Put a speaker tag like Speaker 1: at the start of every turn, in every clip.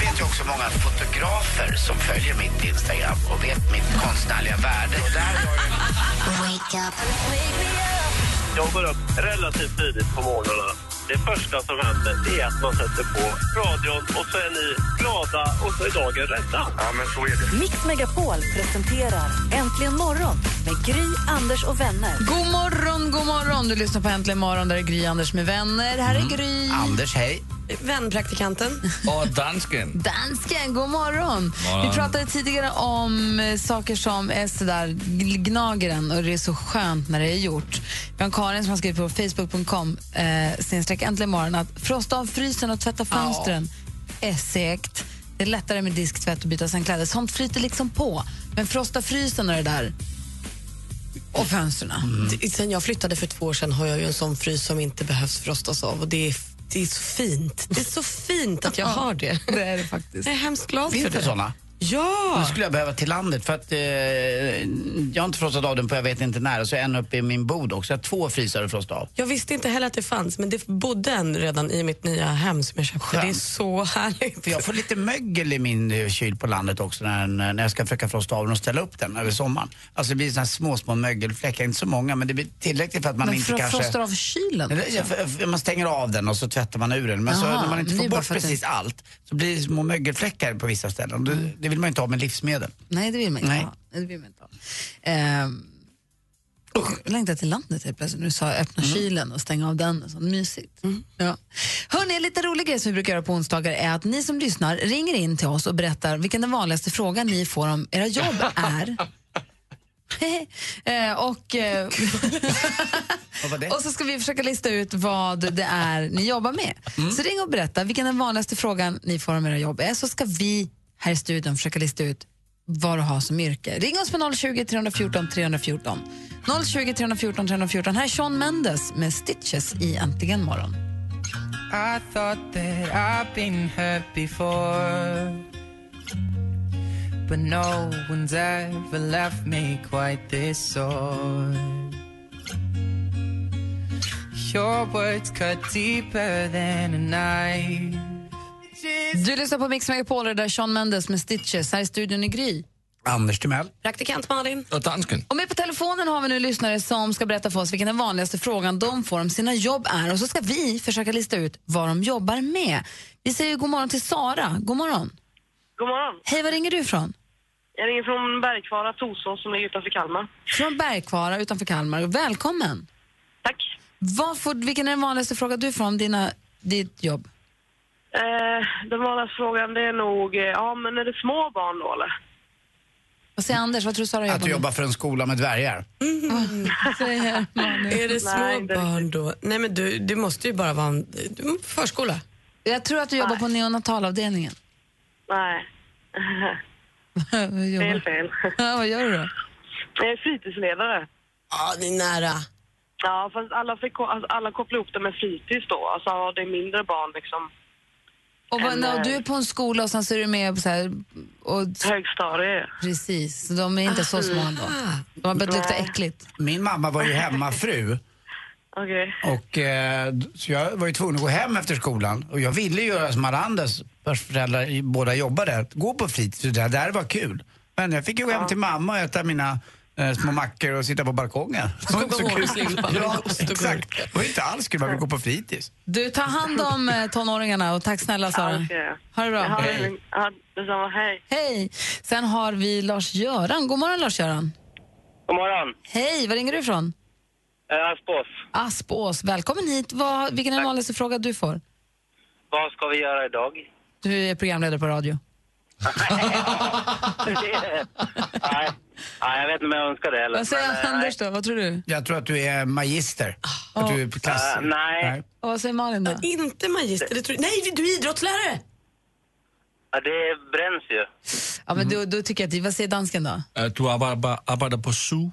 Speaker 1: vet ju också många fotografer som följer mitt Instagram och vet mitt konstnärliga värde. Och där har ju...
Speaker 2: Jag går upp relativt tidigt på morgonen. Det första som händer det är att man sätter på radion och så är ni glada och så är dagen rädda.
Speaker 1: Ja, men så är det.
Speaker 3: Mix Megapol presenterar Äntligen morgon med Gry, Anders och vänner.
Speaker 4: God morgon, god morgon. Du lyssnar på Äntligen morgon där är Gry Anders med vänner. Här är Gry.
Speaker 5: Anders, hej.
Speaker 4: Vänpraktikanten.
Speaker 5: Och dansken.
Speaker 4: Dansken, god morgon.
Speaker 5: morgon.
Speaker 4: Vi pratade tidigare om eh, saker som är sådär gnageren och det är så skönt när det är gjort. Vi har en Karin som har skrivit på facebook.com eh, snedstreck äntligen morgon att frosta av frysen och tvätta fönstren är segt. Det är lättare med disktvätt och byta sandkläder. Sånt flyter liksom på. Men frosta frysen och det där och fönstren.
Speaker 6: Mm. Sen jag flyttade för två år sedan har jag ju en sån frys som inte behövs frostas av och det är, det är så fint. Det är så fint att jag har det.
Speaker 4: Det är det faktiskt.
Speaker 6: Jag är hemskt glad för
Speaker 5: Finns det
Speaker 6: det.
Speaker 5: såna? Det
Speaker 6: Ja!
Speaker 5: skulle jag behöva till landet för att eh, jag har inte frostat av den på jag vet inte när. Och så är en uppe i min bod också. Jag har två frysar att frosta av.
Speaker 6: Jag visste inte heller att det fanns, men det bodde en redan i mitt nya hem som jag köpte.
Speaker 5: Skönt.
Speaker 6: Det är så härligt.
Speaker 5: För jag får lite mögel i min eh, kyl på landet också när, den, eh, när jag ska försöka frosta av den och ställa upp den över sommaren. Alltså det blir såna här små, små mögelfläckar. Inte så många, men det blir tillräckligt för att man
Speaker 4: Men
Speaker 5: inte
Speaker 4: fro-
Speaker 5: kanske...
Speaker 4: frostar av kylen?
Speaker 5: Eller, ja, för- för Man stänger av den och så tvättar man ur den. Men så,
Speaker 4: Aha,
Speaker 5: när man inte
Speaker 4: men det
Speaker 5: får
Speaker 4: är bara
Speaker 5: bort
Speaker 4: för att
Speaker 5: precis allt så blir det små mögelfläckar på vissa ställen. Och
Speaker 4: Mm.
Speaker 5: Det, det vill man ju inte ha med livsmedel.
Speaker 4: Nej, det vill man inte
Speaker 5: Nej.
Speaker 4: ha. Det vill man inte ha. Ehm, jag längtar till landet helt plötsligt. Nu sa jag öppna kylen och stänga av den. och Sånt. Mysigt. Ja. Hörrni, en lite rolig grej som vi brukar göra på onsdagar är att ni som lyssnar ringer in till oss och berättar vilken den vanligaste frågan ni får om era jobb är. Eh, och, eh,
Speaker 5: Vad var det?
Speaker 4: och så ska vi försöka lista ut vad det är ni jobbar med. Så ring och berätta vilken den vanligaste frågan ni får om era jobb är så ska vi här i studion försöka lista ut vad du har som yrke. Ring oss på 020 314 314. 020 314 314. Här är Sean Mendes med Stitches i Äntligen morgon.
Speaker 7: I thought that I've been hurt before. But no one's ever left me quite this sore. Your words cut deeper than a knife.
Speaker 4: Du lyssnar på Mix Megapol och det där är Sean Mendes med Stitches. Här i studion i Gry.
Speaker 5: Anders Timell.
Speaker 6: Praktikant Malin.
Speaker 4: Och med på telefonen har vi nu lyssnare som ska berätta för oss vilken den vanligaste frågan de får om sina jobb är och så ska vi försöka lista ut vad de jobbar med. Vi säger god morgon till Sara. God morgon.
Speaker 2: God morgon.
Speaker 4: Hej, var ringer du ifrån?
Speaker 2: Jag ringer från Bergkvara, Torsås, som ligger utanför Kalmar.
Speaker 4: Från Bergkvara utanför Kalmar. Välkommen.
Speaker 2: Tack.
Speaker 4: Vad får, vilken är den vanligaste frågan du får om dina, ditt jobb?
Speaker 2: Eh, den vanligaste frågan det är nog, eh, ja men är det små barn då eller?
Speaker 4: Vad säger Anders? Vad tror du Sara
Speaker 5: Att
Speaker 4: jobbar
Speaker 5: du
Speaker 4: med?
Speaker 5: jobbar för en skola med dvärgar.
Speaker 4: Säger Malin.
Speaker 6: Är det små
Speaker 2: Mm. Nej, inte
Speaker 6: barn då? Nej men du, du måste ju bara vara en du- förskola.
Speaker 4: Jag tror att du jobbar på neonatalavdelningen.
Speaker 2: Nej,
Speaker 4: Vad
Speaker 2: fel
Speaker 4: jobbar-
Speaker 2: fel.
Speaker 4: Ja, vad gör du då?
Speaker 2: Jag är fritidsledare.
Speaker 6: Ja, det är nära.
Speaker 2: Ja fast alla, fick, ko- alltså, alla kopplar ihop det med fritids då, alltså ja, det är mindre barn liksom.
Speaker 4: Och vad,
Speaker 2: En,
Speaker 4: när
Speaker 2: eh,
Speaker 4: du är på en skola och sen så är du med på så här, och
Speaker 2: Högstadie.
Speaker 4: Precis, så de är inte
Speaker 2: Ah.
Speaker 4: så små ändå. De har börjat lukta äckligt.
Speaker 5: Min mamma var ju hemmafru.
Speaker 2: Okej.
Speaker 5: Och, eh, så jag var ju tvungen att gå hem efter skolan. Och jag ville ju göra som alla andras vars föräldrar i- båda jobbade. Gå på fritids, och det där var kul. Men jag fick ju gå hem till mamma och äta mina eh, små mackor och sitta på balkongen. Det var inte så kul. Ja, exakt. Det var inte alls kul, man vill gå på fritids.
Speaker 4: Du, tar hand om eh, tonåringarna och tack snälla Sara.
Speaker 2: Ja, det ska jag.
Speaker 4: Ha det bra.
Speaker 2: Ja,
Speaker 5: Hej.
Speaker 2: det- Ja, detsamma, hej.
Speaker 4: Hej! Sen har vi Lars-Göran. God morgon Lars-Göran.
Speaker 2: God morgon. Eh,
Speaker 4: Hej, var ringer du ifrån?
Speaker 2: Aspås,
Speaker 4: Aspås, välkommen hit. Vad, vilken är den vanligaste fråga du får?
Speaker 2: vad ska vi göra idag?
Speaker 4: Du är programledare på radio.
Speaker 2: Nej, nej, jag vet inte om jag önskar det heller.
Speaker 4: Vad säger
Speaker 2: Men, eh,
Speaker 4: Anders då? Vad tror du?
Speaker 5: Jag tror att du är magister. Att du är på klass.
Speaker 2: Eh, nej.
Speaker 4: Och vad säger Malin då?
Speaker 6: Inte magister, det tror jag. Nej, du är idrottslärare!
Speaker 2: nej, det bränns ju.
Speaker 4: Ja, men då, då tycker jag att, vad säger dansken då?
Speaker 8: Att Eh, du arbetar, arbetar på zoo.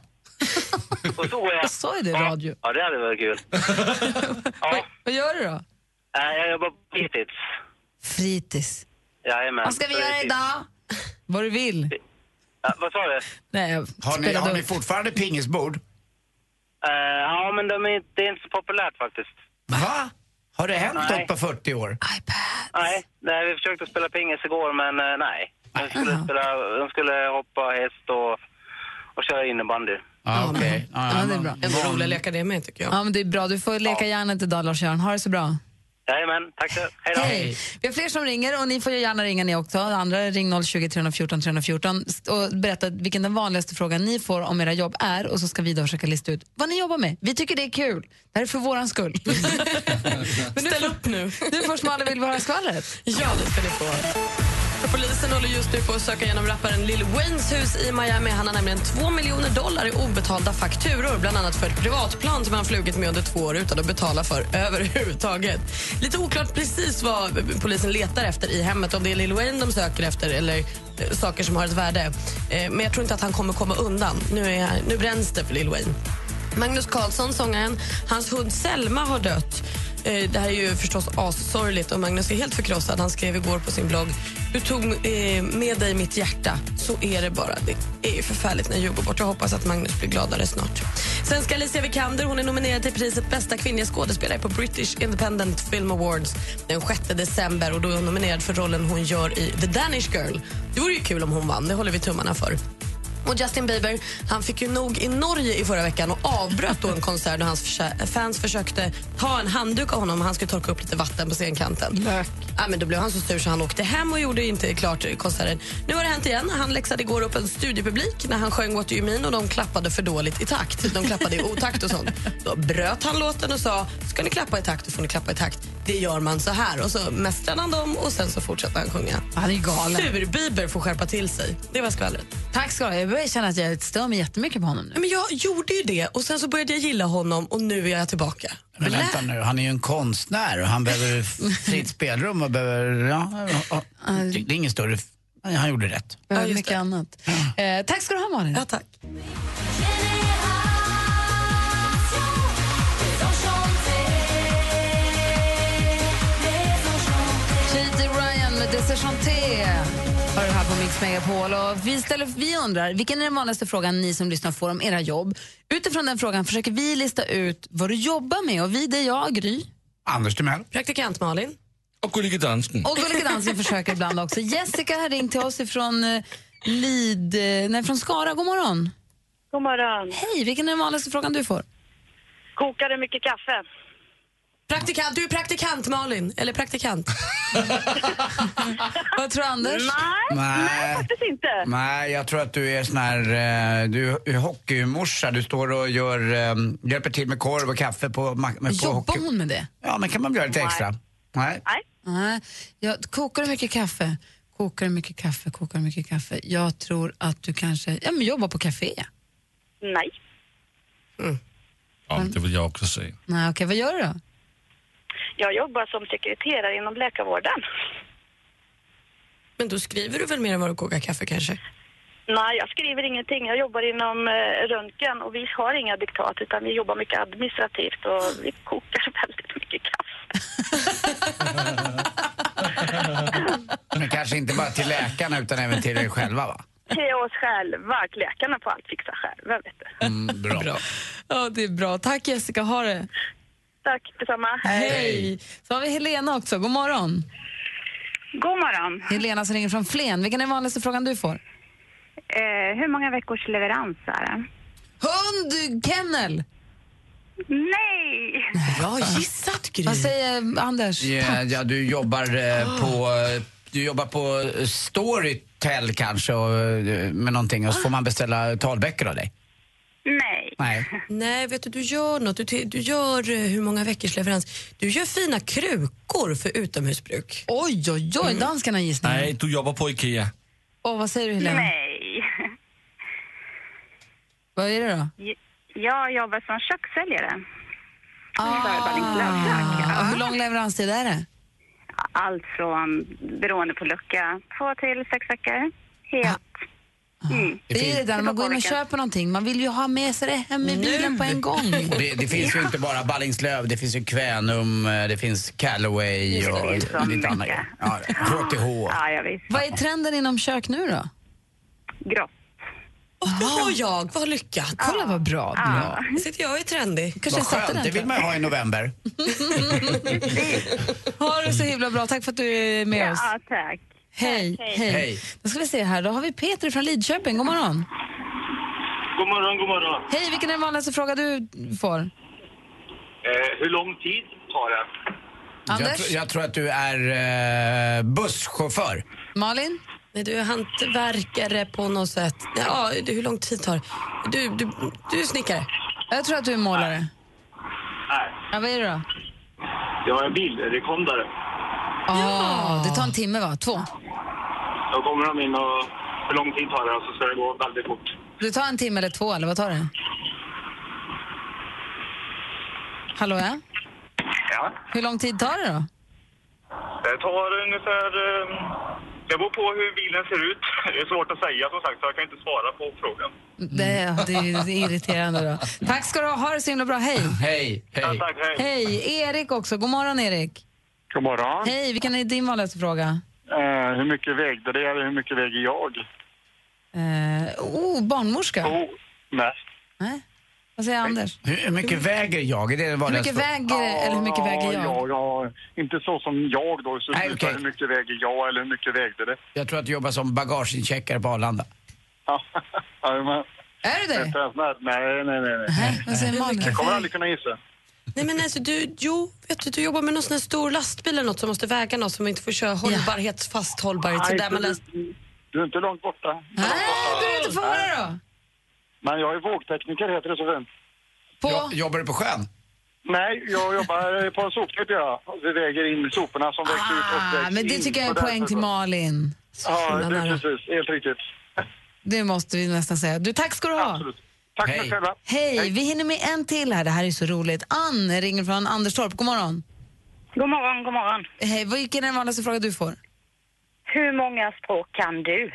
Speaker 2: Och så är
Speaker 4: Jag sa ju det i radio.
Speaker 2: Ja, det hade varit kul.
Speaker 4: Vad gör du då?
Speaker 2: Nej, jag jobbar på fritids.
Speaker 4: Fritids.
Speaker 2: Jajamän.
Speaker 4: Vad ska vi göra idag? Vad du vill.
Speaker 2: Ja, Eh, vad sa du?
Speaker 4: Nej, jag
Speaker 5: Har ni,
Speaker 4: spelade
Speaker 5: har ni
Speaker 4: upp.
Speaker 5: fortfarande pingisbord?
Speaker 2: Eh, ja, men de är inte, det är inte så populärt faktiskt.
Speaker 5: Va? Har det hänt
Speaker 2: Nej.
Speaker 5: något på 40 år?
Speaker 4: Ah,
Speaker 2: Nej, nej vi försökte spela pingis igår, men eh, nej. De skulle, spela, de skulle hoppa häst och, och köra innebandy.
Speaker 5: Ja, okej.
Speaker 4: Ja, det är bra.
Speaker 6: En rolig leka det med tycker jag.
Speaker 4: Ja, men det är bra. Du får leka hjärnet idag, Lars-Göran. Ha det så bra.
Speaker 2: Jajamän, tack så Hej då.
Speaker 4: Hej. Vi har fler som ringer och ni får ju gärna ringa ni också. Andra ring 020 314 314 och berätta vilken den vanligaste frågan ni får om era jobb är och så ska vi då försöka lista ut vad ni jobbar med. Vi tycker det är kul. Det här är för våran skull.
Speaker 6: Ställ upp nu.
Speaker 4: nu först Malin vill vi höra skvallret.
Speaker 6: Ja, det ska ni få. Polisen håller just nu på att söka igenom rapparen Lil Waynes hus i Miami. Han har nämligen 2 miljoner dollar i obetalda fakturor bland annat för ett privatplan som han flugit med under två år utan att betala för överhuvudtaget. Lite oklart precis vad polisen letar efter i hemmet. Om det är Lil Wayne de söker efter eller eh, saker som har ett värde. Eh, Men jag tror inte att han kommer komma undan. Nu, är, nu bränns det för Lil Wayne. Magnus Carlsson, sångaren, hans hund Selma har dött. Eh, Det här är ju förstås assorgligt och Magnus är helt förkrossad. Han skrev igår på sin blogg Du tog eh, med dig mitt hjärta, så är det bara. Det är ju förfärligt när djur går bort. Jag hoppas att Magnus blir gladare snart. Svenska Alicia Vikander hon är nominerad till priset bästa kvinnliga skådespelare på British Independent Film Awards den 6 december och då är hon nominerad för rollen hon gör i The Danish Girl. Det vore ju kul om hon vann, det håller vi tummarna för. Och Justin Bieber han fick ju nog i Norge i förra veckan och avbröt då en konsert då hans försö- fans försökte ta en handduk av honom. Han skulle torka upp lite vatten på scenkanten. Ja, men då blev han så sur så han åkte hem och gjorde inte klart konserten. Nu har det hänt igen. Han läxade igår upp en studiepublik när han sjöng What You Mean och de klappade för dåligt i takt. De klappade i otakt och sånt. Då bröt han låten och sa ska ni klappa i takt, då får ni klappa i takt. Det gör man så här. Och så mästrade han dem och sen så fortsatte han sjunga.
Speaker 4: Han är galen.
Speaker 6: Sur Bieber får skärpa till sig. Det var skvallret.
Speaker 4: Tack ska du ha. Jag börjar känna att jag stör mig jättemycket på honom nu.
Speaker 6: Nej, Men jag gjorde ju det och sen så började jag gilla honom och nu är jag tillbaka.
Speaker 5: Men
Speaker 6: Blä.
Speaker 5: vänta nu, han är ju en konstnär och han behöver fritt spelrum och behöver... Ja, ja, ja. det är ingen större... Han gjorde rätt.
Speaker 4: Ja,
Speaker 6: just
Speaker 4: mycket annat. Eh, tack ska du ha Malin.
Speaker 6: Ja, tack.
Speaker 4: Katie Ryan med Deserchanté har du här på Mix Megapol. Och vi, ställer, vi undrar, vilken är den vanligaste frågan ni som lyssnar får om era jobb? Utifrån den frågan försöker vi lista ut vad du jobbar med. Och vi, det är jag, Gry.
Speaker 5: Anders Timell.
Speaker 6: Praktikant Malin.
Speaker 8: Och gullige dansken.
Speaker 4: Och Gullige Dansken försöker ibland också. Jessica har ringt till oss ifrån eh, Lid, eh, nej, från Skara. God morgon.
Speaker 9: God morgon.
Speaker 4: Hej, vilken är den vanligaste frågan du får?
Speaker 9: Kokar du mycket kaffe?
Speaker 6: Praktikant, du är praktikant Malin, eller praktikant.
Speaker 4: Vad tror du, Anders?
Speaker 9: Nej, nej faktiskt inte.
Speaker 5: Nej, jag tror att du är sån här... eh, Du är hockeymorsa. Du står och gör, eh, hjälper till med korv och kaffe på, mack- men på
Speaker 4: Jobbar
Speaker 5: hockey.
Speaker 4: hon med det?
Speaker 5: Ja, men kan man göra lite extra? Nej.
Speaker 9: Nej.
Speaker 4: Nej, jag kokar du mycket kaffe? Kokar du mycket kaffe? Kokar du mycket kaffe? Jag tror att du kanske ja, men jobbar på café.
Speaker 9: Nej.
Speaker 8: Ja, det vill jag också säga.
Speaker 4: Nej, okej, vad gör du då?
Speaker 9: Jag jobbar som sekreterare inom läkarvården.
Speaker 6: Men då skriver du väl mer än vad du kokar kaffe kanske?
Speaker 9: Nej, jag skriver ingenting. Jag jobbar inom eh, röntgen och vi har inga diktat utan vi jobbar mycket administrativt och vi kokar väldigt mycket kaffe.
Speaker 5: Men kanske inte bara till läkarna utan även till er själva, va?
Speaker 9: Till oss själva. Läkarna får allt fixa själva, vet du.
Speaker 5: Mm, Bra.
Speaker 4: Ja, det är bra. Tack Jessica, ha det.
Speaker 9: Tack detsamma.
Speaker 4: Hej! Så har vi Helena också, god morgon.
Speaker 9: God morgon.
Speaker 4: Helena som ringer från Flen. Vilken är den vanligaste frågan du får?
Speaker 9: Eh, hur många veckors leverans är det?
Speaker 4: Hundkennel!
Speaker 9: Nej!
Speaker 6: Bra gissat Gry.
Speaker 4: Vad säger Anders?
Speaker 5: Eh, Ja, ja, du jobbar
Speaker 4: Ah.
Speaker 5: eh, på... eh, Du jobbar på eh, Storytel kanske och, eh, med någonting och så får man beställa talböcker av dig. Mm.
Speaker 9: Nej.
Speaker 5: Nej.
Speaker 6: Nej, vet du, du gör något. Du, te- du gör eh, hur många veckors leverans? Du gör fina krukor för utomhusbruk.
Speaker 4: Oj, oj, oj,
Speaker 6: Mm.
Speaker 4: danskarna har gissningar.
Speaker 8: Nej, du jobbar på Ikea.
Speaker 4: Och vad säger du Helena?
Speaker 9: Nej.
Speaker 4: Vad är det då?
Speaker 9: Jag jobbar som kökssäljare.
Speaker 6: Ah.
Speaker 4: Och hur lång leveranstid är det?
Speaker 9: Allt från, beroende på lucka, två till sex veckor. Helt.
Speaker 6: Ah.
Speaker 9: Mm.
Speaker 4: Det är det där när man går in och köper någonting. Man vill ju ha med sig det hem i bilen på en gång.
Speaker 5: Och Det, det finns ju inte bara Ballingslöv, det finns ju Kvänum, eh, det finns Callaway och lite annat. Ja, KTH.
Speaker 4: Vad är trenden inom kök nu då?
Speaker 9: Grått.
Speaker 6: Och jag, vad lyckat.
Speaker 4: Kolla vad bra.
Speaker 6: Ja. Sitter jag och är trendig.
Speaker 4: Kanske
Speaker 5: Vad skönt, det vill man ju ha i november.
Speaker 4: Ha det så himla bra. Tack för att du är med oss.
Speaker 9: Ja, tack.
Speaker 4: Hej,
Speaker 9: Tack,
Speaker 4: hej.
Speaker 9: hej.
Speaker 4: Då ska vi se här. Då har vi Peter från Lidköping. God morgon.
Speaker 10: God morgon, god morgon.
Speaker 4: Hej, vilken är den vanligaste fråga du får?
Speaker 10: Eh, hur lång tid tar det?
Speaker 5: Jag, tr- jag tror att du är eh, busschaufför.
Speaker 4: Malin?
Speaker 6: Nej, du är hantverkare på något sätt. Ja, det- hur lång tid tar det? Du, du, du är snickare.
Speaker 4: Jag tror att du är målare.
Speaker 10: Nej,
Speaker 4: Ja, vad är det då?
Speaker 10: jag är bilrekondare.
Speaker 4: Ja. Det tar en timme, va? Två?
Speaker 10: Då kommer de in och hur lång tid tar det och så ska det gå väldigt fort.
Speaker 4: Du tar en timme eller två, eller vad tar det? Hallå, ja?
Speaker 10: Ja.
Speaker 4: Hur lång tid tar det då?
Speaker 10: Det tar ungefär... Eh, det beror på hur bilen ser ut. Det är svårt att säga som sagt så jag kan inte svara på frågan.
Speaker 4: Det, det är ju irriterande då. Tack ska du ha. Ha det så himla bra. Hej!
Speaker 5: Hej, hej.
Speaker 10: Ja, tack, hej.
Speaker 4: Hej! Erik också. God morgon, Erik.
Speaker 10: God morgon.
Speaker 4: Hej, vilken är din vanligaste fråga?
Speaker 10: Eh, hur mycket vägde det eller hur mycket väger jag?
Speaker 4: Eh, oh, barnmorska.
Speaker 10: Nej.
Speaker 4: Nej. Vad säger Anders?
Speaker 5: Hur, hur mycket väger jag? Är det
Speaker 4: Hur mycket väger det, eller hur mycket väger jag?
Speaker 10: Ja, ja, inte så som jag då. Så
Speaker 5: Nej, okej.
Speaker 10: Hur mycket väger jag eller hur mycket vägde det?
Speaker 5: Jag tror att du jobbar som bagageincheckare på Arlanda.
Speaker 10: Ja, men,
Speaker 4: Är du det?
Speaker 10: inte ens när- Nej, nej, nej. nej.
Speaker 4: Vad säger Malin?
Speaker 10: Jag kommer aldrig kunna gissa.
Speaker 6: Nej men alltså du, jo, vet du, du jobbar med någon sån här stor lastbil eller något som måste väga något som inte får köra hållbarhetsfast hållbarhet. Så
Speaker 10: Nej,
Speaker 6: där man läst.
Speaker 10: du, du är inte långt borta.
Speaker 4: Vad är det inte för höra då?
Speaker 10: Men jag är vågtekniker, heter det så fint.
Speaker 5: Jo- Jobbar du på sjön?
Speaker 10: Nej, jag jobbar på en soptipp, ja. Vi väger in soporna som vägs ut och
Speaker 4: Ah,
Speaker 10: vägs
Speaker 4: men det
Speaker 10: in.
Speaker 4: tycker jag är
Speaker 10: Och därför
Speaker 4: poäng till
Speaker 10: så-
Speaker 4: Malin.
Speaker 10: Ja, det
Speaker 4: Himla nära.
Speaker 10: är precis. Helt riktigt.
Speaker 4: Det måste vi nästan säga. Du, tack ska du ha.
Speaker 10: Tack
Speaker 4: Hej.
Speaker 10: för själva.
Speaker 4: Hej. vi hinner med en till här. Det här är så roligt. Ann ringer från Anderstorp. God morgon.
Speaker 9: God morgon, god morgon.
Speaker 4: Hej, vilken är den vanligaste frågan du får?
Speaker 9: Hur många språk kan du?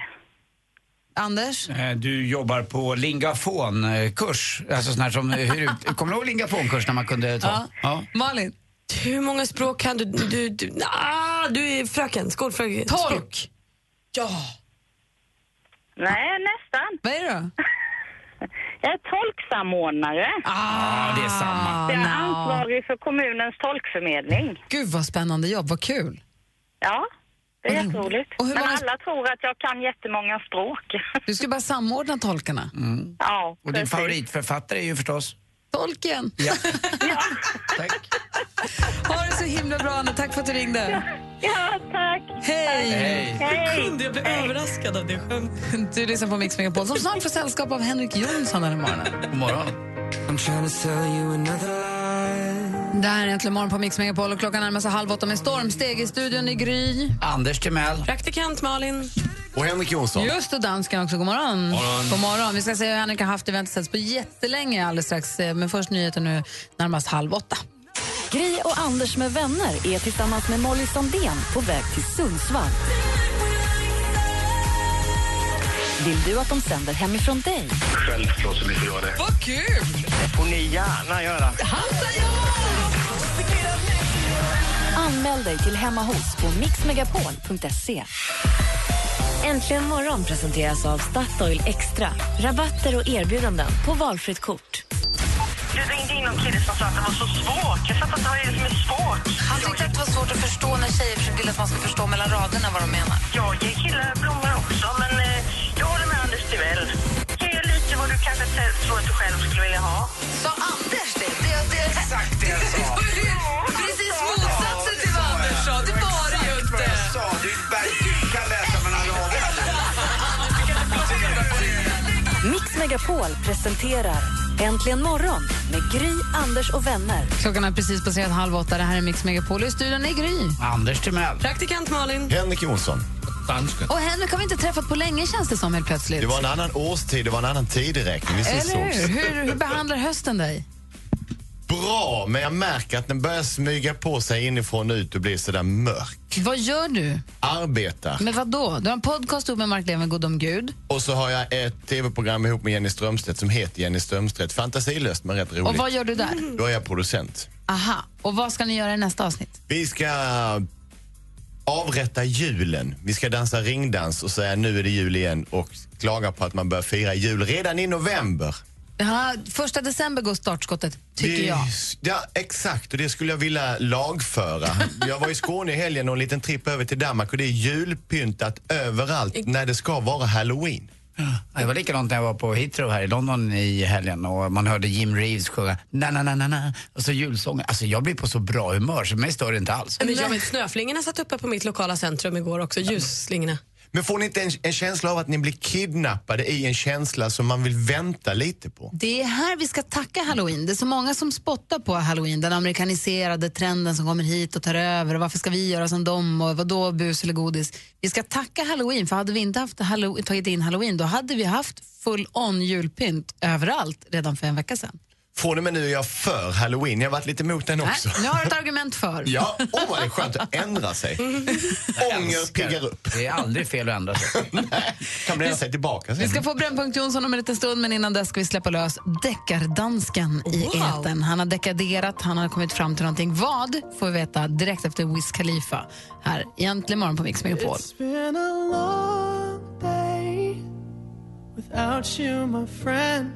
Speaker 4: Anders?
Speaker 5: Eh, Du jobbar på lingafonkurs. Alltså sån här som hyr ut. Kommer du ihåg lingafonkurs när man kunde ta?
Speaker 6: Ja.
Speaker 5: ja.
Speaker 4: Malin?
Speaker 6: Hur många språk kan du? Du, du, ah, du är fröken, skolfröken.
Speaker 4: Tolk.
Speaker 6: Språk. Ja.
Speaker 9: Nej, nästan.
Speaker 4: Vad är det då?
Speaker 9: Jag är tolksamordnare.
Speaker 5: Ah, det är samma.
Speaker 9: Jag är
Speaker 4: Ah, nå.
Speaker 9: ansvarig för kommunens tolkförmedling.
Speaker 4: Gud vad spännande jobb, vad kul.
Speaker 9: Ja, det är
Speaker 4: Vad
Speaker 9: jätteroligt.
Speaker 4: Mm. Och hur
Speaker 9: Men
Speaker 4: många-
Speaker 9: alla tror att jag kan jättemånga språk.
Speaker 4: Du ska bara samordna tolkarna.
Speaker 9: ja,
Speaker 5: Och din
Speaker 9: precis.
Speaker 5: favoritförfattare är ju förstås...
Speaker 4: Tolken!
Speaker 5: Ja.
Speaker 4: Tack. Ha det så himla bra, Anna. Tack för att du ringde.
Speaker 9: Ja, tack.
Speaker 4: Hej!
Speaker 6: Hur kunde jag bli överraskad av det skämtet?
Speaker 4: Du lyssnar på Mix Megapol som snart får sällskap av Henrik Jonsson den här morgonen.
Speaker 5: God morgon.
Speaker 11: I'm trying to sell you another lie.
Speaker 4: Det här är Äntligen morgon på Mix Megapol och klockan närmar sig halv åtta med stormsteg i studion i Gry.
Speaker 5: Anders Timell.
Speaker 6: Praktikant Malin.
Speaker 12: Och Henrik Jonsson.
Speaker 4: Just det, dansken också. God morgon.
Speaker 12: Morgon.
Speaker 4: God morgon. Vi ska se hur Henrik har haft eventet på jättelänge alldeles strax. eh, Men först nyheter nu närmast halv åtta.
Speaker 3: Gry och Anders med vänner är tillsammans med Molly Sandén på väg till Sundsvall. Vill du att de sänder hemifrån dig?
Speaker 1: Självklart så blir jag det.
Speaker 4: Vad kul!
Speaker 1: får ni gärna göra.
Speaker 3: Anmäl dig till Hemma hos på mixmegapol.se. Äntligen morgon presenteras av Statoil Extra. Rabatter och erbjudanden på valfritt kort.
Speaker 9: Du ringde in någon kille som sa att det var så svårt. Jag fattar inte vad det är som är svårt.
Speaker 4: Han tyckte att det var svårt att förstå när tjejer försöker- vill att man ska förstå mellan raderna vad de menar.
Speaker 9: Jag ger killar blommor också, men eh, jag håller med Anders Tivell. Ge lite vad du kanske t- tror att du själv skulle vilja ha.
Speaker 4: Sa Anders det? det, det Exakt det jag sa. Precis motsatsen till vad Anders sa. Det var det ju inte.
Speaker 5: Du kan läsa mellan
Speaker 3: Mix Megapol presenterar Äntligen morgon med Gry, Anders och vänner.
Speaker 4: Klockan är precis passerat halv åtta. Det här är Mix Megapol i studion i Gry.
Speaker 5: Anders Timell.
Speaker 6: Praktikant Malin.
Speaker 12: Henrik Jonsson.
Speaker 8: Dansken.
Speaker 4: Och Henrik har vi inte träffat på länge känns det som helt plötsligt.
Speaker 12: Det var en annan årstid, det var en annan tideräkning. Vi ses
Speaker 4: Eller hur?
Speaker 12: sågs.
Speaker 4: hur? Hur behandlar hösten dig?
Speaker 12: bra, men jag märker att den börjar smyga på sig inifrån och ut och blir sådär mörk.
Speaker 4: Vad gör du?
Speaker 12: Arbetar.
Speaker 4: Men vad då? Du har en podcast ihop med Mark Levengood om Gud.
Speaker 12: Och så har jag ett tv-program ihop med Jenny Strömstedt som heter Jenny Strömstedt. Fantasilöst men rätt roligt.
Speaker 4: Och vad gör du där?
Speaker 12: Då är jag producent.
Speaker 4: Aha. Och vad ska ni göra i nästa avsnitt?
Speaker 12: Vi ska avrätta julen. Vi ska dansa ringdans och säga nu är det jul igen och klaga på att man bör fira jul redan i november.
Speaker 4: Aha, första december går startskottet, tycker
Speaker 12: Det-
Speaker 4: jag.
Speaker 12: Ja, exakt. Och det skulle jag vilja lagföra. Jag var i Skåne i helgen och en liten tripp över till Danmark och det är julpyntat överallt när det ska vara halloween.
Speaker 5: Ja, Det var likadant när jag var på Heathrow här i London i helgen och man hörde Jim Reeves sjunga na na na na na och så julsången. Alltså jag blir på så bra humör så mig stör det inte alls.
Speaker 6: Men jag vet, snöflingorna satt uppe på mitt lokala centrum igår också, ljusslingorna.
Speaker 12: Men får ni inte en, en känsla av att ni blir kidnappade i en känsla som man vill vänta lite på?
Speaker 4: Det är här vi ska tacka halloween. Det är så många som spottar på halloween, den amerikaniserade trenden som kommer hit och tar över. Och varför ska vi göra som dem och vadå bus eller godis? Vi ska tacka halloween, för hade vi inte haft hallo- tagit in halloween då hade vi haft full on julpynt överallt redan för en vecka sedan.
Speaker 12: Från och med nu är jag för halloween. Jag har varit lite emot den också.
Speaker 4: Nej, nu har du ett argument för.
Speaker 12: Ja, åh vad det är skönt att ändra sig. Ånger piggar upp.
Speaker 5: Det är aldrig fel att ändra sig.
Speaker 12: kan man redan sig tillbaka
Speaker 4: Vi
Speaker 12: sen.
Speaker 4: ska få Brännpunkt Jonsson om en liten stund, men innan dess ska vi släppa lös deckardansken i
Speaker 13: Wow.
Speaker 4: etern. Han har dekaderat, han har kommit fram till någonting. Vad får vi veta direkt efter Wiz Khalifa här i Äntligen morgon på Mix Megapol.
Speaker 13: It's been a long day without you my friend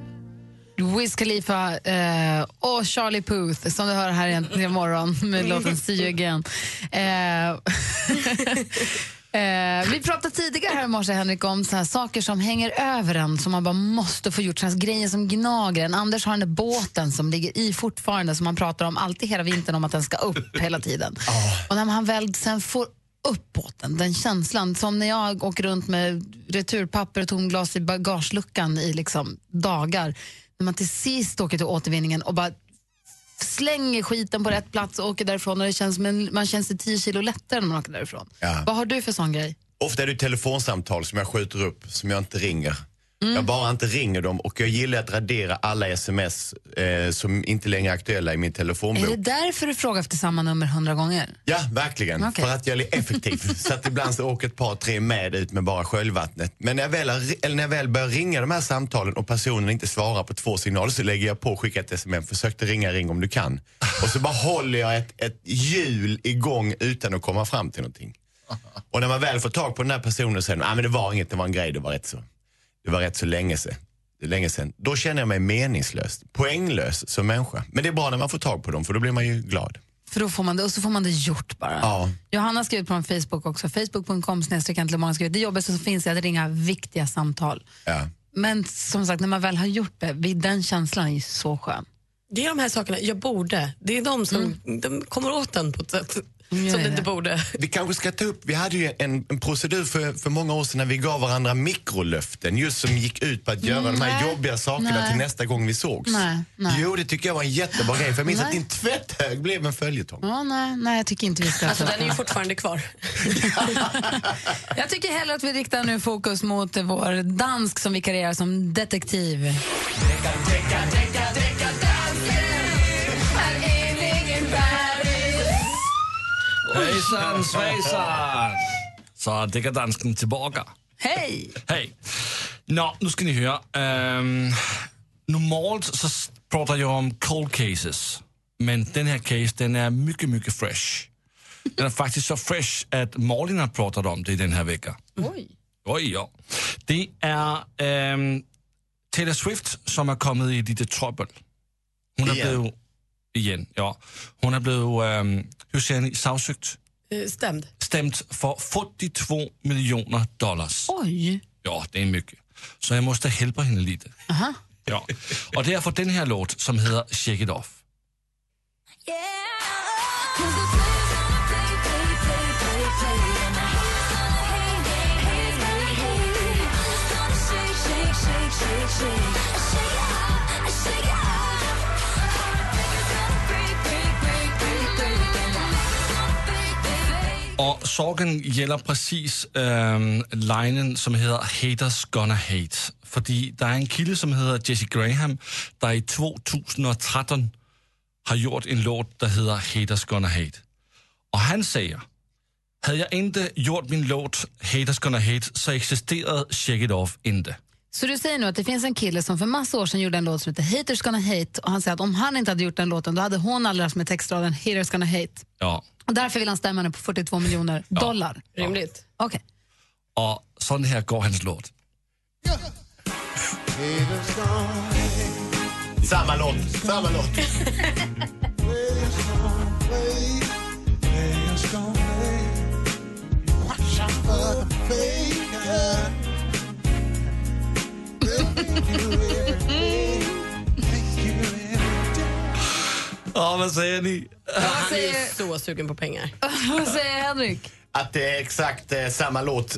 Speaker 4: Wiz Khalifa eh, och Charlie Puth, som du hör här egentligen imorgon med låten See you again. Eh, eh, vi pratade tidigare här i morse, Henrik, om så här saker som hänger över en som man bara måste få gjort. Så här grejer som gnager en. Anders har den där båten som ligger i fortfarande som man pratar om alltid hela vintern om att den ska upp hela tiden. Och när man väl sen får upp båten, den känslan. Som när jag åker runt med returpapper och tomglas i bagageluckan i liksom dagar. När man till sist åker till återvinningen och bara slänger skiten på rätt plats och åker därifrån och det känns som en, man känns sig 10 kilo lättare när man åker därifrån.
Speaker 12: Ja.
Speaker 4: Vad har du för sån grej?
Speaker 12: Ofta är det telefonsamtal som jag skjuter upp, som jag inte ringer.
Speaker 6: Mm.
Speaker 12: Jag bara inte ringer dem och jag gillar att radera alla sms eh, som inte längre är aktuella i min
Speaker 4: Är det
Speaker 12: telefonbok.
Speaker 4: därför du frågar efter samma nummer hundra gånger?
Speaker 12: Ja, verkligen.
Speaker 4: Okej.
Speaker 12: För att jag är effektiv. så att ibland så åker ett par, tre med ut med bara sköljvattnet. Men när jag, väl har, eller när jag väl börjar ringa de här samtalen och personen inte svarar på två signaler så lägger jag på och skickar ett sms. Försökte ringa, ring om du kan. Och så bara håller jag ett, ett hjul igång utan att komma fram till någonting. Och när man väl får tag på den här personen säger de, ah, men det var inget, det var en grej, det var rätt så, det var rätt så länge sedan. Det är länge sedan. Då känner jag mig meningslös, poänglös som människa. Men det är bra när man får tag på dem för då blir man ju glad.
Speaker 4: För då får man det, och så får man det gjort bara.
Speaker 12: Ja.
Speaker 4: Johanna har skrivit på en Facebook också, facebook.com snedstreck äntligen morgon skrivit, det jobbigaste som finns är att ringa viktiga samtal.
Speaker 12: Ja.
Speaker 4: Men som sagt, när man väl har gjort det, vid den känslan är ju så skön.
Speaker 6: Det är de här sakerna, jag borde. Det är de som de kommer åt den på ett sätt som det inte borde.
Speaker 12: Vi kanske ska ta upp, vi hade ju en, en procedur för, för många år sedan när vi gav varandra mikrolöften just som gick ut på att göra
Speaker 4: Mm,
Speaker 12: de här
Speaker 4: nej.
Speaker 12: jobbiga sakerna
Speaker 4: Nej.
Speaker 12: till nästa gång vi sågs.
Speaker 4: Nej, nej.
Speaker 12: Jo, det tycker jag var en jättebra grej för jag minns
Speaker 4: Nej.
Speaker 12: att din tvätthög blev en följetong.
Speaker 4: Ja, nej, nej, jag tycker inte vi ska
Speaker 6: Alltså
Speaker 4: ta
Speaker 6: den är ju fortfarande kvar.
Speaker 4: Jag tycker hellre att vi riktar nu fokus mot eh, vår dansk som vikarierar som detektiv.
Speaker 8: Hejsan svejsan! Så dækker dansken tillbaka.
Speaker 4: Hej!
Speaker 8: Hej! Nå, nu ska ni höra. Ehm, normalt så pratar jag om cold cases. Men den här case, den är mycket, mycket fresh. Den är faktiskt så fresh att Malin har pratat om det den här veckan.
Speaker 4: Oj.
Speaker 8: Oj, ja. Det är ehm, Taylor Swift som har kommit i lite trubbel. Hon har
Speaker 6: Igen.
Speaker 8: blivit... Igen, ja. Hon har blivit, ehm, hur säger ni, sagsökt?
Speaker 6: Eh, Stämd.
Speaker 8: stämt för 42 miljoner dollars.
Speaker 4: Oj!
Speaker 8: Ja, det är mycket. Så jag måste hjälpa henne lite.
Speaker 4: Aha.
Speaker 8: Ja. Och det är för den här låt som heter Shake It Off. Och sorgen gäller precis ähm, linjen som heter Haters gonna hate. För det är en kille som heter Jesse Graham, där i 2013 har gjort en låt, der hedder Haters Gonna Hate. Og han siger, havde jeg ikke gjort min låt Haters Gonna Hate, så eksisterede Shake It Off inte.
Speaker 4: Så du säger nu att det finns en kille som för massa år sedan gjorde en låt som heter Haters gonna hate och han säger att om han inte hade gjort den låten då hade hon aldrig haft med textraden Haters gonna hate.
Speaker 8: Ja.
Speaker 4: Och därför vill han stämma henne på 42 miljoner dollar.
Speaker 6: Rimligt.
Speaker 4: Okej.
Speaker 8: Og sådan her går hans låt.
Speaker 12: Samma låt, samma låt.
Speaker 8: Ja, vad säger ni?
Speaker 6: Han är så sugen på pengar.
Speaker 4: Vad säger Henrik?
Speaker 12: Att det är exakt eh, samma låt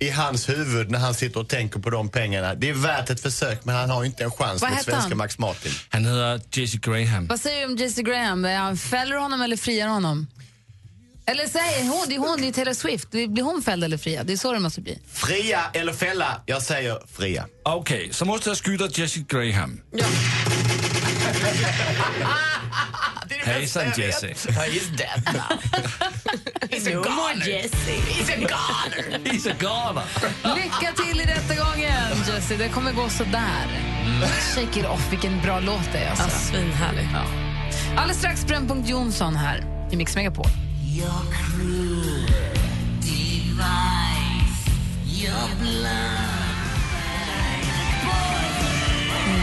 Speaker 12: i hans huvud när han sitter och tänker på de pengarna. Det är värt ett försök men han har ju inte en chans
Speaker 4: Vad
Speaker 12: mot
Speaker 4: hette
Speaker 12: svenska
Speaker 4: han?
Speaker 12: Max Martin.
Speaker 8: Han heter Jesse Graham.
Speaker 4: Vad säger du om Jesse Graham? Är han- Fäller du honom eller friar honom? Eller säger hon, det är hon, det är Taylor Swift. Blir hon fälld eller friad? Det är så det måste bli.
Speaker 12: Fria eller fälla? Jag säger fria.
Speaker 8: Okej, så måste jag skydda Jesse Graham. Hejsan Jesse.
Speaker 12: He's dead now.
Speaker 6: He's a goner. He's a goner.
Speaker 8: He's a goner.
Speaker 4: Lycka till i rättegången, Jesse. Det kommer gå så där. Shake it off, vilken bra låt det är. Alltså.
Speaker 6: Svinhärlig.
Speaker 4: Ja. Alldeles strax Brännpunkt Jonsson här i Mix Megapol.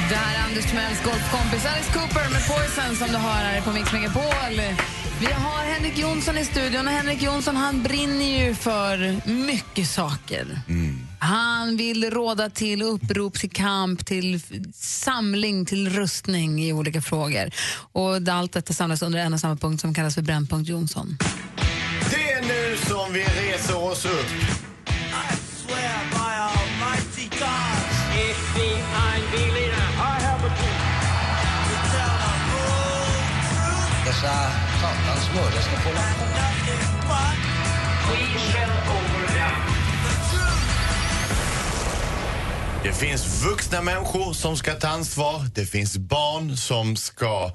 Speaker 4: Det här är Anders Timells golfkompis Alice Cooper med Poison som du hör här på Mix Megapol. Vi har Henrik Jonsson i studion och Henrik Jonsson han brinner ju för mycket saker. Han vill råda till upprop, till kamp, till f- samling, till rustning i olika frågor. Och det- allt detta samlas under en och samma punkt som kallas för Brännpunkt Jonsson.
Speaker 12: Det är nu som vi reser oss upp.
Speaker 14: Dessa satans mördare ska få hålla på.
Speaker 12: Det finns vuxna människor som ska ta ansvar. Det finns barn som ska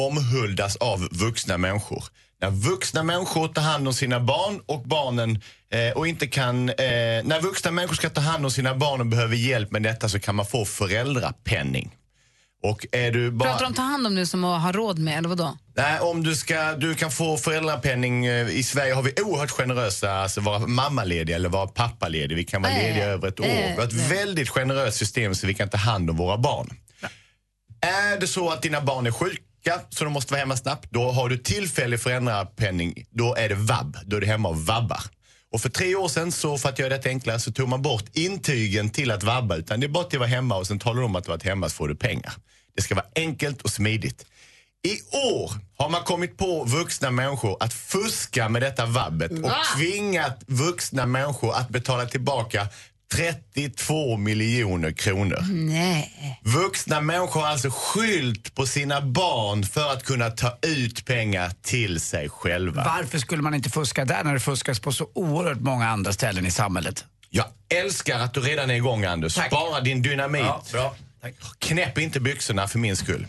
Speaker 12: omhuldas av vuxna människor. När vuxna människor tar hand om sina barn och barnen eh, och inte kan... Eh, när vuxna människor ska ta hand om sina barn och behöver hjälp med detta så kan man få föräldrapenning. Och är du bara...
Speaker 4: Pratar de om ta hand om nu som att ha råd med, eller vadå?
Speaker 12: Nej, om du ska, du kan få föräldrapenning. eh, I Sverige har vi oerhört generösa, alltså vara mammaledig eller vara pappaledig. Vi kan vara
Speaker 15: Nej.
Speaker 12: lediga över ett år.
Speaker 15: Nej.
Speaker 12: Vi har ett väldigt generöst system så vi kan ta hand om våra barn. Är det så att dina barn är sjuka så de måste vara hemma snabbt, då har du tillfällig föräldrapenning. Då är det vab, då är du hemma och vabbar. Och för tre år sedan, så för att göra detta enklare, så tog man bort intygen till att vabba. Utan det är bara till att vara hemma och sen talar du om att du varit hemma så får du pengar. Det ska vara enkelt och smidigt. I år har man kommit på vuxna människor att fuska med detta vabbet och
Speaker 15: Va?
Speaker 12: tvingat vuxna människor att betala tillbaka 32 miljoner kronor.
Speaker 4: Mm. Nej.
Speaker 12: Vuxna människor har alltså skylt på sina barn för att kunna ta ut pengar till sig själva.
Speaker 5: Varför skulle man inte fuska där när det fuskas på så oerhört många andra ställen i samhället?
Speaker 12: Jag älskar att du redan är igång Anders. Spara din dynamit.
Speaker 5: Ja, bra.
Speaker 12: Knäpp inte byxorna för min skull.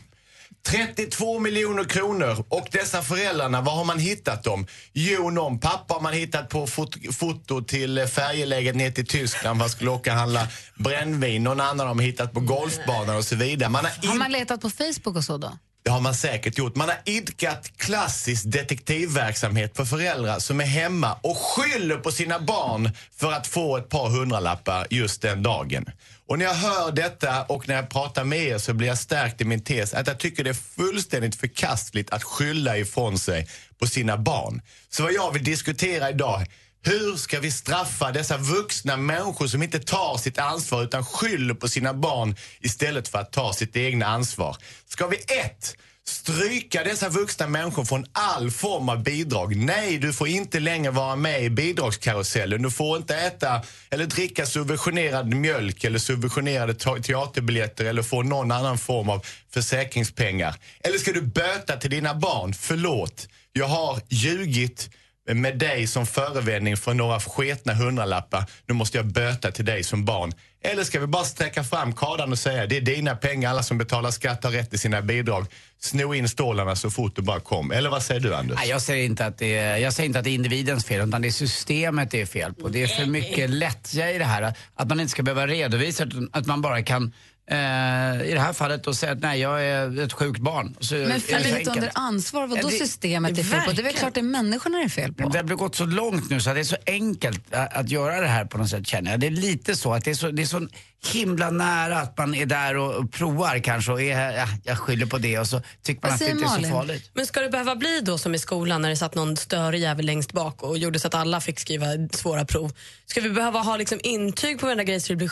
Speaker 12: 32 miljoner kronor och dessa föräldrarna, var har man hittat dem? Jo, någon pappa har man hittat på fot- foto till eh, färjeläget ner till Tyskland för han skulle åka och handla brännvin. Någon annan har man hittat på golfbanan och så vidare. Man har
Speaker 4: Har man letat på Facebook och så då?
Speaker 12: det har man säkert gjort. Man har idkat klassisk detektivverksamhet för föräldrar som är hemma och skyller på sina barn för att få ett par hundralappar just den dagen. Och när jag hör detta och när jag pratar med er så blir jag stärkt i min tes att jag tycker det är fullständigt förkastligt att skylla ifrån sig på sina barn. Så vad jag vill diskutera idag hur ska vi straffa dessa vuxna människor som inte tar sitt ansvar utan skyller på sina barn istället för att ta sitt egna ansvar? Ska vi ett, Stryka dessa vuxna människor från all form av bidrag. Nej, du får inte längre vara med i bidragskarusellen. Du får inte äta eller dricka subventionerad mjölk eller subventionerade ta- teaterbiljetter eller få någon annan form av försäkringspengar. Eller ska du böta till dina barn? Förlåt, jag har ljugit med dig som förevändning för några sketna hundralappar. Nu måste jag böta till dig som barn. Eller ska vi bara sträcka fram kardan och säga det är dina pengar, alla som betalar skatt har rätt till sina bidrag. Sno in stålarna så fort du bara kom. Eller vad säger du Anders?
Speaker 5: Nej, jag, säger inte att det är, jag säger inte att det är individens fel, utan det är systemet det är fel på. Det är för mycket lättja i det här. Att man inte ska behöva redovisa, utan att man bara kan eh, i det här fallet då säga att nej, jag är ett sjukt barn. Så är
Speaker 4: Men
Speaker 5: det så
Speaker 4: frihet
Speaker 5: enkelt.
Speaker 4: under ansvar,
Speaker 5: Ja,
Speaker 4: vadå
Speaker 5: det-
Speaker 4: systemet är fel på? Det är väl
Speaker 5: Verkligen.
Speaker 4: klart det är människorna det är fel på.
Speaker 5: Men det har blivit gått så långt nu så att det är så enkelt att, att göra det här på något sätt känner jag. Det är lite så att det är så, det är så himla nära att man är där och, och provar kanske och är, här, ja, jag skyller på det och så tycker man att det inte är så farligt.
Speaker 6: Men ska det behöva bli då som i skolan när det satt någon störig jävel längst bak och gjorde så att alla fick skriva svåra prov? Ska vi behöva ha liksom intyg på varenda grej så det blir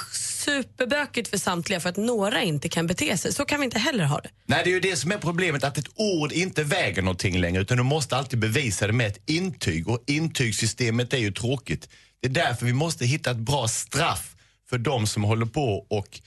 Speaker 6: superbökigt för samtliga för att några inte kan bete sig? Så kan vi inte heller ha det.
Speaker 12: Nej, det är ju det som är problemet, att ett ord inte väger någonting längre utan du måste alltid bevisa det med ett intyg och intygssystemet är ju tråkigt. Det är därför vi måste hitta ett bra straff för de som håller på och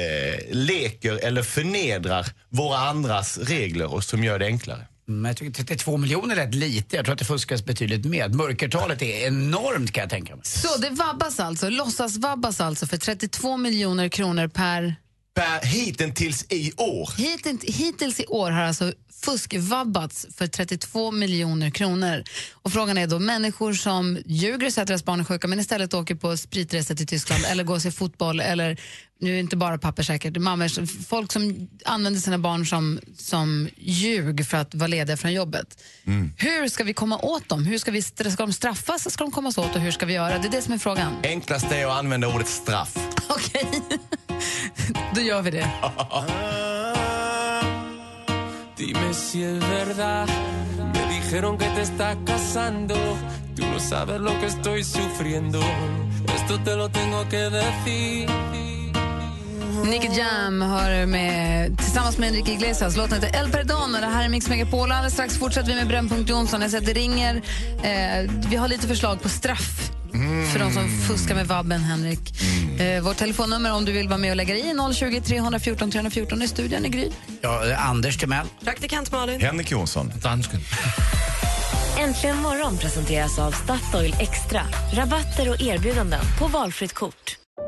Speaker 12: eh, leker eller förnedrar våra andras regler och som gör det enklare.
Speaker 5: Mm, jag tycker 32 miljoner är rätt lite. Jag tror att det fuskas betydligt mer. Mörkertalet är enormt kan jag tänka mig.
Speaker 4: Så det vabbas alltså, låtsas vabbas alltså för 32 miljoner kronor per...
Speaker 12: Per hittills i år.
Speaker 4: Hittills, hittills i år har alltså fuskvabbats för 32 miljoner kronor. Och frågan är då människor som ljuger och säger att deras barn är sjuka men istället åker på spritresa till Tyskland eller går och ser fotboll eller, nu är det inte bara papper säkert, mammor, folk som använder sina barn som, som ljug för att vara lediga från jobbet. Hur ska vi komma åt dem? Hur ska, vi, stra- ska de straffas? Ska de kommas åt och hur ska vi göra? Det är det som är frågan.
Speaker 12: Enklast är att använda ordet straff.
Speaker 4: Okej, då gör vi det.
Speaker 13: Ah, Dime si es verdad. Me dijeron que te estás casando. Tú no sabes lo que estoy sufriendo. Esto te lo tengo que decir.
Speaker 4: Nicky Jam hör med, tillsammans med Enrique Iglesias. Låten heter El Perdón och det här är Mix Megapol. Alldeles strax fortsätter vi med Brännpunkt Jonsson. Jag ser att det ringer. Eh, vi har lite förslag på straff för de som fuskar med vabben, Henrik. Eh, vårt telefonnummer om du vill vara med och lägga dig i 020-314 314 i studion i Gry.
Speaker 5: Ja, eh, Anders Timell.
Speaker 6: Praktikant Malin.
Speaker 12: Henrik Jonsson.
Speaker 8: Dansken.
Speaker 3: Äntligen morgon presenteras av Statoil Extra. Rabatter och erbjudanden på valfritt kort.